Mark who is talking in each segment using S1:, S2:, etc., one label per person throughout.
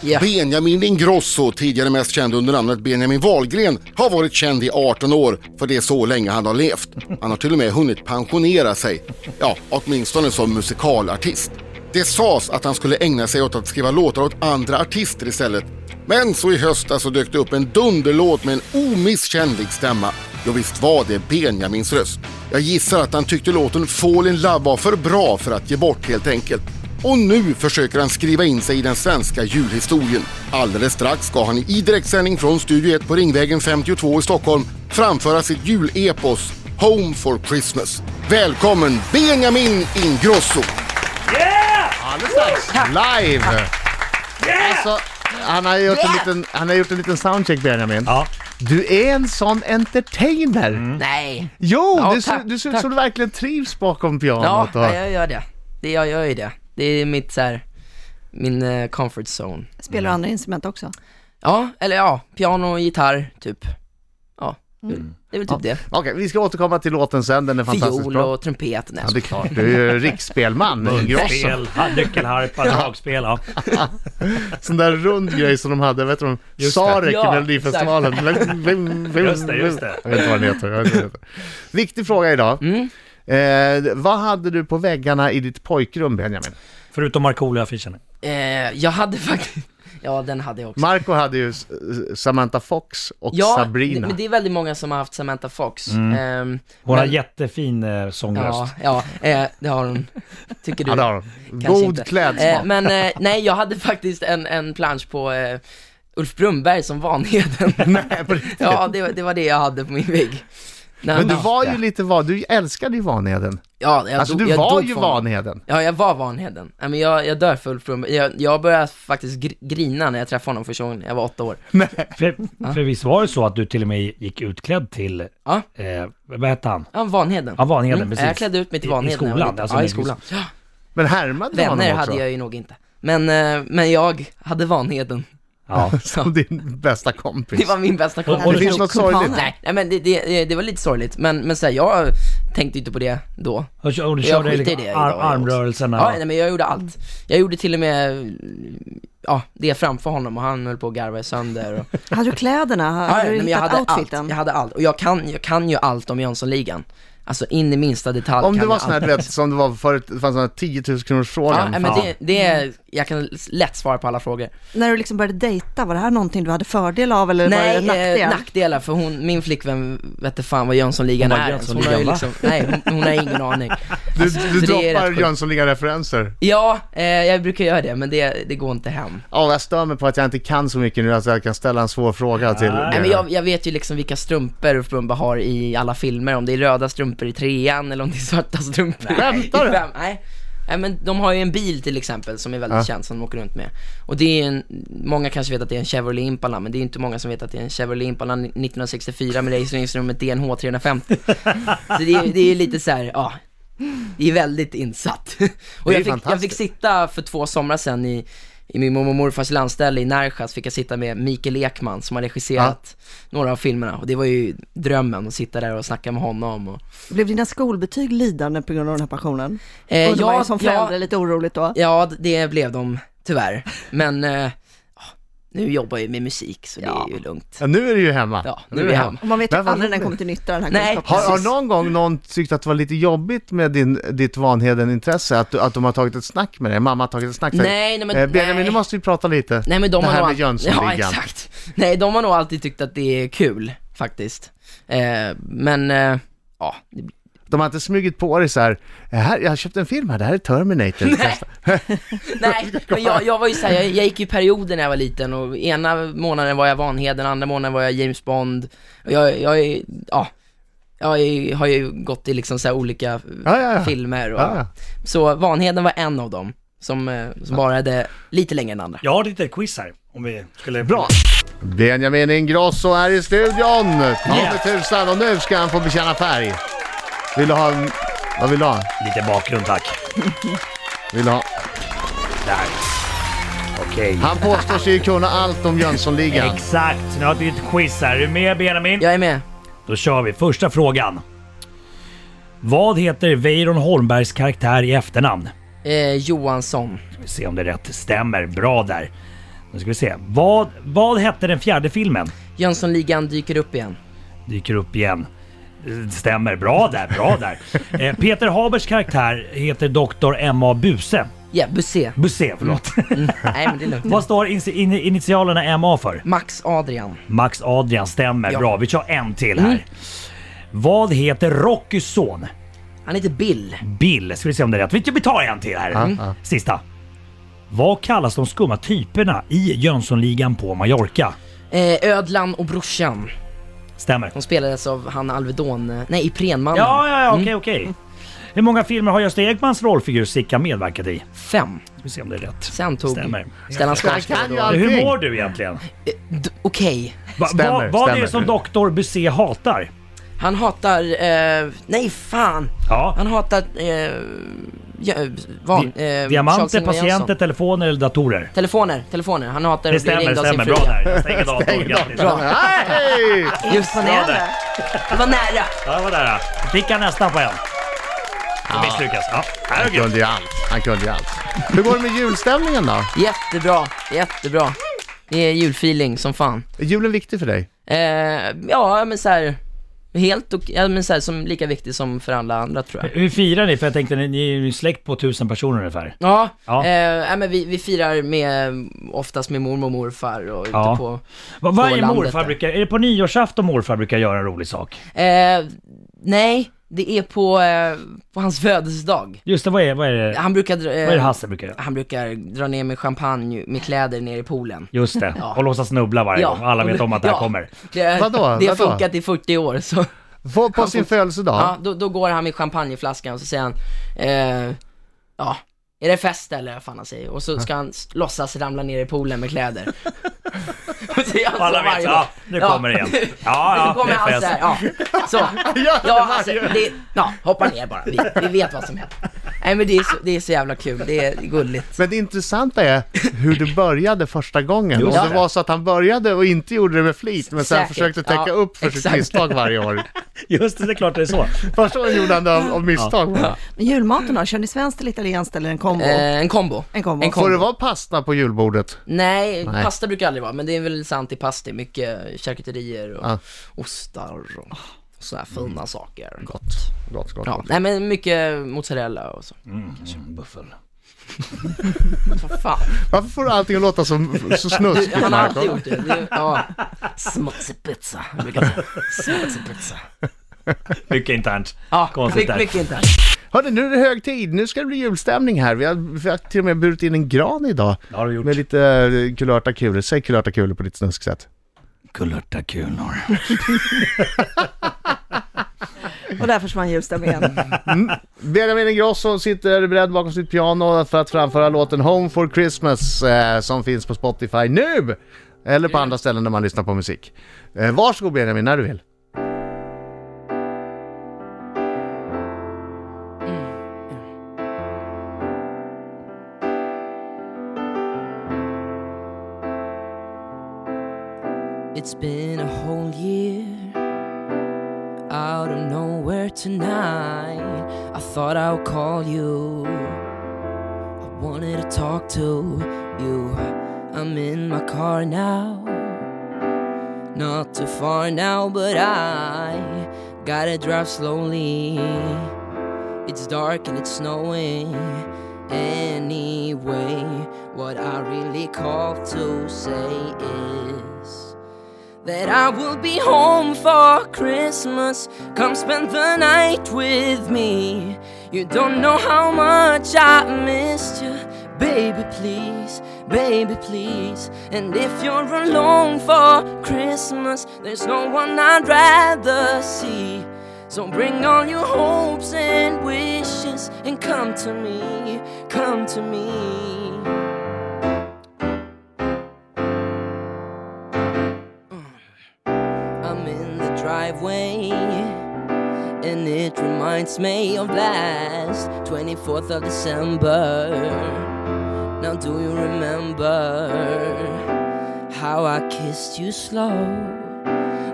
S1: Ja.
S2: Benjamin Ingrosso, tidigare mest känd under namnet Benjamin Wahlgren, har varit känd i 18 år, för det är så länge han har levt. Han har till och med hunnit pensionera sig, ja, åtminstone som musikalartist. Det sades att han skulle ägna sig åt att skriva låtar åt andra artister istället. Men så i höstas så dök det upp en dunderlåt med en omisskännlig stämma. Jo, visst var det Benjamins röst. Jag gissar att han tyckte låten Fall in Love var för bra för att ge bort helt enkelt. Och nu försöker han skriva in sig i den svenska julhistorien. Alldeles strax ska han i direktsändning från Studio 1 på Ringvägen 52 i Stockholm framföra sitt julepos Home for Christmas. Välkommen Benjamin Ingrosso!
S3: Alldeles strax. Live!
S4: Alltså, han har gjort en liten, han har gjort en liten soundcheck Benjamin.
S3: Ja. Mm.
S4: Du är en sån entertainer!
S1: Nej.
S4: Jo,
S1: Ja,
S4: du, ser-
S1: tack,
S4: du ser ut
S1: tack.
S4: som du verkligen trivs bakom
S1: Ja,
S4: pianot. och-
S1: jag gör det. det jag gör ju det. Det är mitt så här, min eh, comfort zone.
S5: Spelar du andra instrument också?
S1: Ja, eller ja, piano och gitarr, typ. Ja, det är väl typ det.
S4: Okej, vi ska återkomma till låten sen, den är fantastiskt
S1: Fiol
S4: bra.
S1: och trumpet. Nej,
S4: Ja, det är klart, du är ju riksspelman. Ingrosso.
S3: Spel, ha- nyckelharpa, dragspel. Ja.
S4: Sån där rund grej som de hade, vet du, de, Sarek
S1: Ja,
S4: i Melodifestivalen.
S3: Just det, just det.
S4: Jag vet inte vad den heter. jag vet inte vad den heter. Viktig fråga idag.
S1: Mm.
S4: Eh, vad hade du på väggarna i ditt pojkrum, Benjamin?
S3: Förutom Markoolio-affischen.
S1: Eh, jag hade faktiskt, ja den hade jag också.
S4: Marco hade ju S- Samantha Fox och
S1: ja,
S4: Sabrina. Mm.
S1: det- men det är väldigt många som har haft Samantha Fox. Ehm,
S3: Hon har
S1: men-
S3: jättefin eh, sångröst.
S1: Ja, ja eh, det har hon. Tycker du?
S4: Ja, det har de.
S1: Kanske
S4: God
S1: inte.
S4: klädsmak.
S1: Eh, men eh, nej, jag hade faktiskt en, en plansch på eh, Ulf Brunnberg som Vanheden.
S4: Nej, på riktigt.
S1: ja, det, var- det var det jag hade på min vägg. Nej,
S4: Men du
S1: ja.
S4: var ju lite van, du älskade ju Vanheden.
S1: Ja, jag
S4: Alltså
S1: dog-
S4: du
S1: jag
S4: var
S1: dog
S4: ju
S1: för honom.
S4: Vanheden.
S1: Ja, jag var Vanheden. Nej, men jag, jag dör för Ulf Brunnberg. Jag, jag började faktiskt gr- grina när jag träffade honom första gången. Jag var åtta år.
S3: För, för visst var det så att du till och med gick utklädd till,
S1: Ja,
S3: eh, vad hette han?
S1: ja Vanheden.
S3: Ja, Vanheden, precis.
S1: Mm, Jag klädde ut mig till
S3: I- i
S1: Vanheden. när jag var
S3: skolan,
S1: liten.
S3: alltså,
S1: ja, i
S3: när-
S1: skolan. Ja,
S4: Men härmade du
S1: vänner
S4: honom också?
S1: hade jag ju nog inte. Men, eh, men jag hade Vanheden.
S3: Ja.
S4: Som din bästa kompis.
S1: Det var min bästa
S3: Och
S1: kompis.
S4: det finns något sorgligt.
S1: Nej, nej men det, det, det var lite sorgligt, men, men så här, jag tänkte inte på det då.
S3: Och, kö- och du
S1: Jag
S3: körde
S1: skiter i
S3: liksom
S1: det
S3: ar-
S1: idag, jag
S3: armrörelserna.
S1: Ja, nej, men jag gjorde allt. Jag gjorde till och med, ja, det framför honom och han höll på att garva sönder och,
S5: Hade du kläderna? Hade
S1: Ja,
S5: du
S1: nej, men jag
S5: hittat
S1: hade allt.
S5: outfiten?
S1: Jag hade allt. Och jag kan, jag kan ju allt om Jönssonligan. Alltså in i minsta detalj
S4: Om
S1: kan
S4: det var
S1: jag
S4: sån här,
S1: allt.
S4: du vet, som det var förut, det fanns sån här 10 000 kronors
S1: Ja,
S4: frågan.
S1: nej, men det, det är, jag kan lätt svara på alla frågor.
S5: När du liksom började dejta, var det här någonting du hade fördel av eller var det
S1: Nej,
S5: nackdel?
S1: eh, nackdelar för hon, min flickvän vet inte fan vad Jönssonligan
S3: Hon bara,
S1: är.
S3: "Jönssonligan,
S1: hon har ju
S3: va?"
S1: liksom, nej, hon, hon har ingen aning.
S4: Du,
S1: Alltså,
S4: du
S1: så det är rätt
S4: droppar
S1: sjukt.
S4: Jönssonligan-referenser.
S1: Ja, eh, jag brukar göra det, men det, det går inte hem.
S4: Ja, jag stör mig på att jag inte kan så mycket nu, alltså jag kan ställa en svår fråga till
S1: Nej,
S4: er.
S1: men jag, jag vet ju liksom vilka strumpor Ulf Brunnberg har i alla filmer, om det är röda strumpor i trean eller om det är svarta strumpor
S4: Skämtar du?
S1: i fem. Nej. Nej men de har ju en bil till exempel som är väldigt
S4: Ja.
S1: känd som de åker runt med. Och det är en, många kanske vet att det är en Chevrolet Impala men det är ju inte många som vet att det är en Chevrolet Impala 1964 med registreringsnumret DNH 350. så det är, det är ju lite så här, ja. Det är väldigt insatt. Och
S4: Det är
S1: jag fick, jag fick
S4: fantastiskt.
S1: sitta för två somrar sedan i, i min mormor och morfars landställe i Närjas fick jag sitta med Mikael Ekman som har regisserat några av filmerna och det var ju drömmen att sitta där och snacka med honom och
S5: Blev dina skolbetyg lidande på grund av den här passionen?
S1: Eh,
S5: Undrar man ju som
S1: ja,
S5: förälder lite oroligt då.
S1: Ja, det blev de tyvärr. Men eh, ja, nu jobbar jag ju med musik så det är ju lugnt.
S4: Ja, nu är det ju hemma.
S1: Ja, nu är jag hemma.
S5: Och man vet ju
S4: Men vad
S5: aldrig när
S4: roligt.
S5: den kommer till nytta den här
S1: Nej.
S5: kunskapen.
S4: Har, har
S1: Precis.
S4: någon gång någon tyckt att det var lite jobbigt med din, ditt Vanheden-intresse? Att, du- att de har tagit ett snack med dig? Mamma har tagit ett snack med dig?
S1: Nej, nej, men-
S4: Eh, Benjamin,
S1: nej.
S4: nu måste vi prata lite.
S1: Nej men de
S4: det
S1: har
S4: här
S1: nog
S4: med
S1: all-
S4: Jönssonligan.
S1: Ja exakt. Nej de har nog alltid tyckt att det är kul faktiskt. Eh, men eh, ja, det blir-
S4: De har inte smugit på dig så här, "Eh, här, jag har köpt en film här, det här är Terminator. Testa.
S1: nej men jag, jag var ju såhär, jag, jag gick ju perioder när jag var liten och ena månaden var jag Vanheden, andra månaden var jag James Bond. Och jag, jag, är- ja, jag är- har ju gått i liksom så här olika
S4: Ja, ja, ja.
S1: filmer och,
S4: Ja, ja.
S1: Så Vanheden var en av dem som, eh, som bara hade lite längre än andra.
S3: Jag har lite quiz här. Om vi skulle...
S4: Bra! Benjamin Ingrosso är i studion! Ta med tusan och nu ska han få bekänna färg. Vill du ha, en- vad vill du ha?
S3: Lite bakgrund tack.
S4: Vill du ha?
S3: Där. Okej.
S4: Han påstår sig ju kunna allt om Jönssonligan.
S3: Exakt, nu har vi ett quiz här. Är du med Benjamin?
S1: Jag är med.
S3: Då kör vi. Första frågan. Vad heter Weiron Holmbergs karaktär i efternamn?
S1: Eh, Johansson.
S3: Vi se om det rätt stämmer. Bra där. Nu ska vi se. Vad, vad hette den fjärde filmen?
S1: Jönssonligan dyker upp igen.
S3: Dyker upp igen. Eh, Stämmer. Bra där, bra där. Eh, Peter Habers karaktär heter Dr. M.A. Buse.
S1: Ja, Busé.
S3: Buse, förlåt.
S1: Nej men det är lugnt.
S3: Vad står in- in- initialerna M.A. för?
S1: Max Adrian.
S3: Max Adrian, stämmer.
S1: Ja.
S3: Bra, vi kör en till här. Vad heter Rockys son?
S1: Han heter Bill.
S3: Bill. Ska vi se om det är rätt. Vi- Vi tar en till här. Mm. Sista. Vad kallas de skumma typerna i Jönssonligan på Mallorca?
S1: Eh, Ödlan och brorsan.
S3: Stämmer.
S1: De spelades av han Alvedon, eh, nej Iprenmannen.
S3: Ja, ja, ja, okej, okej. Hur många filmer har Gösta Ekmans rollfigur Sickan medverkat i?
S1: Fem.
S3: Ska vi se om det är rätt.
S1: Sen tog
S3: Stämmer.
S1: Stellan
S4: Han
S1: Skarsgård. Eh,
S4: kan ju
S3: Hur
S4: allting.
S3: mår du egentligen?
S1: D- Okej.
S3: Va,
S4: Stämmer,
S3: va, vad är det som
S4: stämmer.
S3: doktor Busé hatar?
S1: Han hatar, eh, nej fan.
S3: Ja.
S1: Han hatar, eh, ja, eh, van, eh, Charles
S3: Diamanter,
S1: Ingvar
S3: patienter,
S1: Jönsson.
S3: telefoner eller datorer?
S1: Telefoner, telefoner. Han hatar
S3: Det
S1: att bli
S3: stämmer,
S1: ringd av sin
S3: stämmer.
S1: fru.
S3: Bra där. Jag stänger datorn. Grattis.
S1: Bra.
S4: Hej!
S1: Imponerande. Det var nära.
S3: Ja, det var där. ja. Fick han nästan på en. Det misslyckas. Ja. Ja,
S4: Han
S3: okej.
S4: kunde ju allt. Han kunde ju allt. Hur går det med julstämningen då?
S1: Jättebra, jättebra. Det är julfeeling som fan.
S4: Är julen viktig för dig?
S1: Eh, ja, men så här, helt och, ja, men så här, som lika viktig som för alla andra tror jag.
S3: Hur firar ni? För jag tänkte, ni- ni är ju en släkt på tusen personer ungefär.
S1: Ja,
S3: Ja.
S1: Eh, nej, men vi, vi firar med, oftast med mormor och morfar och
S3: Ja.
S1: ute på...
S3: Va- Varje
S1: landet
S3: morfar
S1: där.
S3: brukar, är det på nyårsafton morfar brukar göra en rolig sak?
S1: Eh, nej, det är på, eh, på hans födelsedag.
S3: Just det, vad är, vad är det,
S1: Han brukar, dra-
S3: vad är det
S1: eh,
S3: Hasse brukar göra?
S1: han brukar dra ner med champagne med kläder ner i poolen.
S3: Just det,
S1: Ja.
S3: och låtsas snubbla varje gång. Alla vet om att det här
S1: Ja.
S3: kommer.
S1: Det,
S4: Vadå?
S1: det har
S4: Vadå?
S1: funkat i 40 år så...
S4: På, på sin födelsedag?
S1: Ja, då, då går han med champagneflaskan och så säger han, eh, ja, är det fest eller vad fan han säger? Och så ska han s- låtsas ramla ner i poolen med kläder. och så gör han så
S3: Alla vet,
S1: varje
S3: ja,
S1: gång.
S3: nu kommer det igen. Ja, ja,
S1: nu kommer
S3: det är
S1: han
S3: fest.
S1: såhär, ja. Så.
S4: Gör det
S1: Ja,
S4: varje-
S1: alltså, det, ja, hoppa ner bara, vi, vi vet vad som händer. Nej men det är, så, det är så jävla kul, det är gulligt.
S4: Men det intressanta är hur du började första gången. Om
S3: Just
S4: det
S3: det.
S4: var så att han började och inte gjorde det med flit, men sen
S1: Säkert.
S4: försökte täcka
S1: Ja,
S4: upp för sitt
S1: exakt.
S4: misstag varje år.
S3: Just det, det är klart det är så.
S4: Första gången gjorde han det av, av misstag.
S5: Men julmaten då? Kör ni svenskt eller italienskt eller en kombo?
S1: Eh, en kombo.
S5: En kombo.
S1: En
S4: Får det
S1: kombo.
S4: vara pasta på julbordet?
S1: Nej,
S4: Nej.
S1: pasta brukar aldrig vara, men det är väl sant i pasti, mycket charkuterier och
S4: Ja. Mm.
S1: ostar och sådana här fina saker.
S4: Gott. Gott, gott,
S1: Ja,
S4: gott.
S1: nej men mycket mozzarella och så.
S3: Buffel.
S1: Vad fan.
S4: Varför får du allting att låta så, så snuskigt,
S1: Han har alltid
S4: Marco?
S1: gjort det. det ja. Smutsig-pizza, jag brukar säga. Smutsig-pizza.
S3: Mycket internt.
S1: Ja,
S3: Konstigt
S1: mycket,
S3: där.
S1: mycket inte.
S4: Hörni, nu är det hög tid. Nu ska det bli julstämning här. Vi har, vi har till och med burit in en gran idag.
S3: Det har du gjort.
S4: Med lite eh, kulörta kulor. Säg kulörta kulor på ditt snusksätt.
S3: Kulörta kulor.
S5: Och där försvann julstämningen.
S4: Benjamin Ingrosso sitter beredd bakom sitt piano för att framföra låten Home for Christmas eh, som finns på Spotify nu! Eller på andra ställen där man lyssnar på musik. Eh, varsågod Benjamin, när du vill.
S1: It's been a whole year out of nowhere tonight. I thought I would call you. I wanted to talk to you. I'm in my car now. Not too far now, but I gotta drive slowly. It's dark and it's snowing. Anyway, what I really called to say is that I will be home for Christmas. Come spend the night with me. You don't know how much I missed you, baby. Please, baby, please. And if you're alone for Christmas, there's no one I'd rather see. So bring all your hopes and wishes and come to me, come to me. I'm in the driveway. And it reminds me of last 24th of December. Now, do you remember how I kissed you slow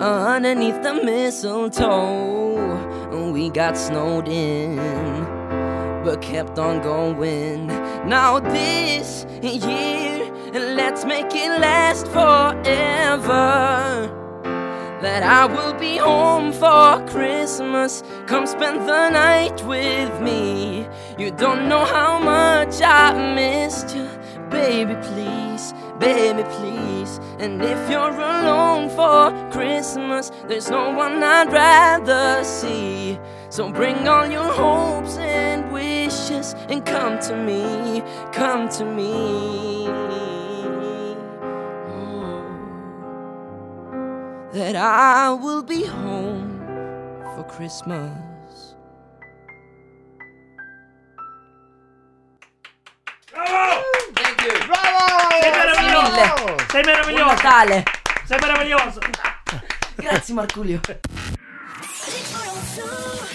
S1: underneath the mistletoe? And we got snowed in but kept on going. Now this year and let's make it last forever. That I will be home for Christmas. Come spend the night with me. You don't know how much I missed you, baby. Please, baby, please. And if you're alone for Christmas, there's no one I'd rather see. So bring all your hopes and wishes and come to me, come to me. Oh, that I will be home for Christmas.
S3: Bravo!
S6: Thank you!
S3: Sei meraviglioso! Sei
S1: mille. Buon
S3: meraviglioso!
S1: Natale!
S3: Sei meraviglioso!
S1: Grazie Marculio!
S7: Rick Oil Show.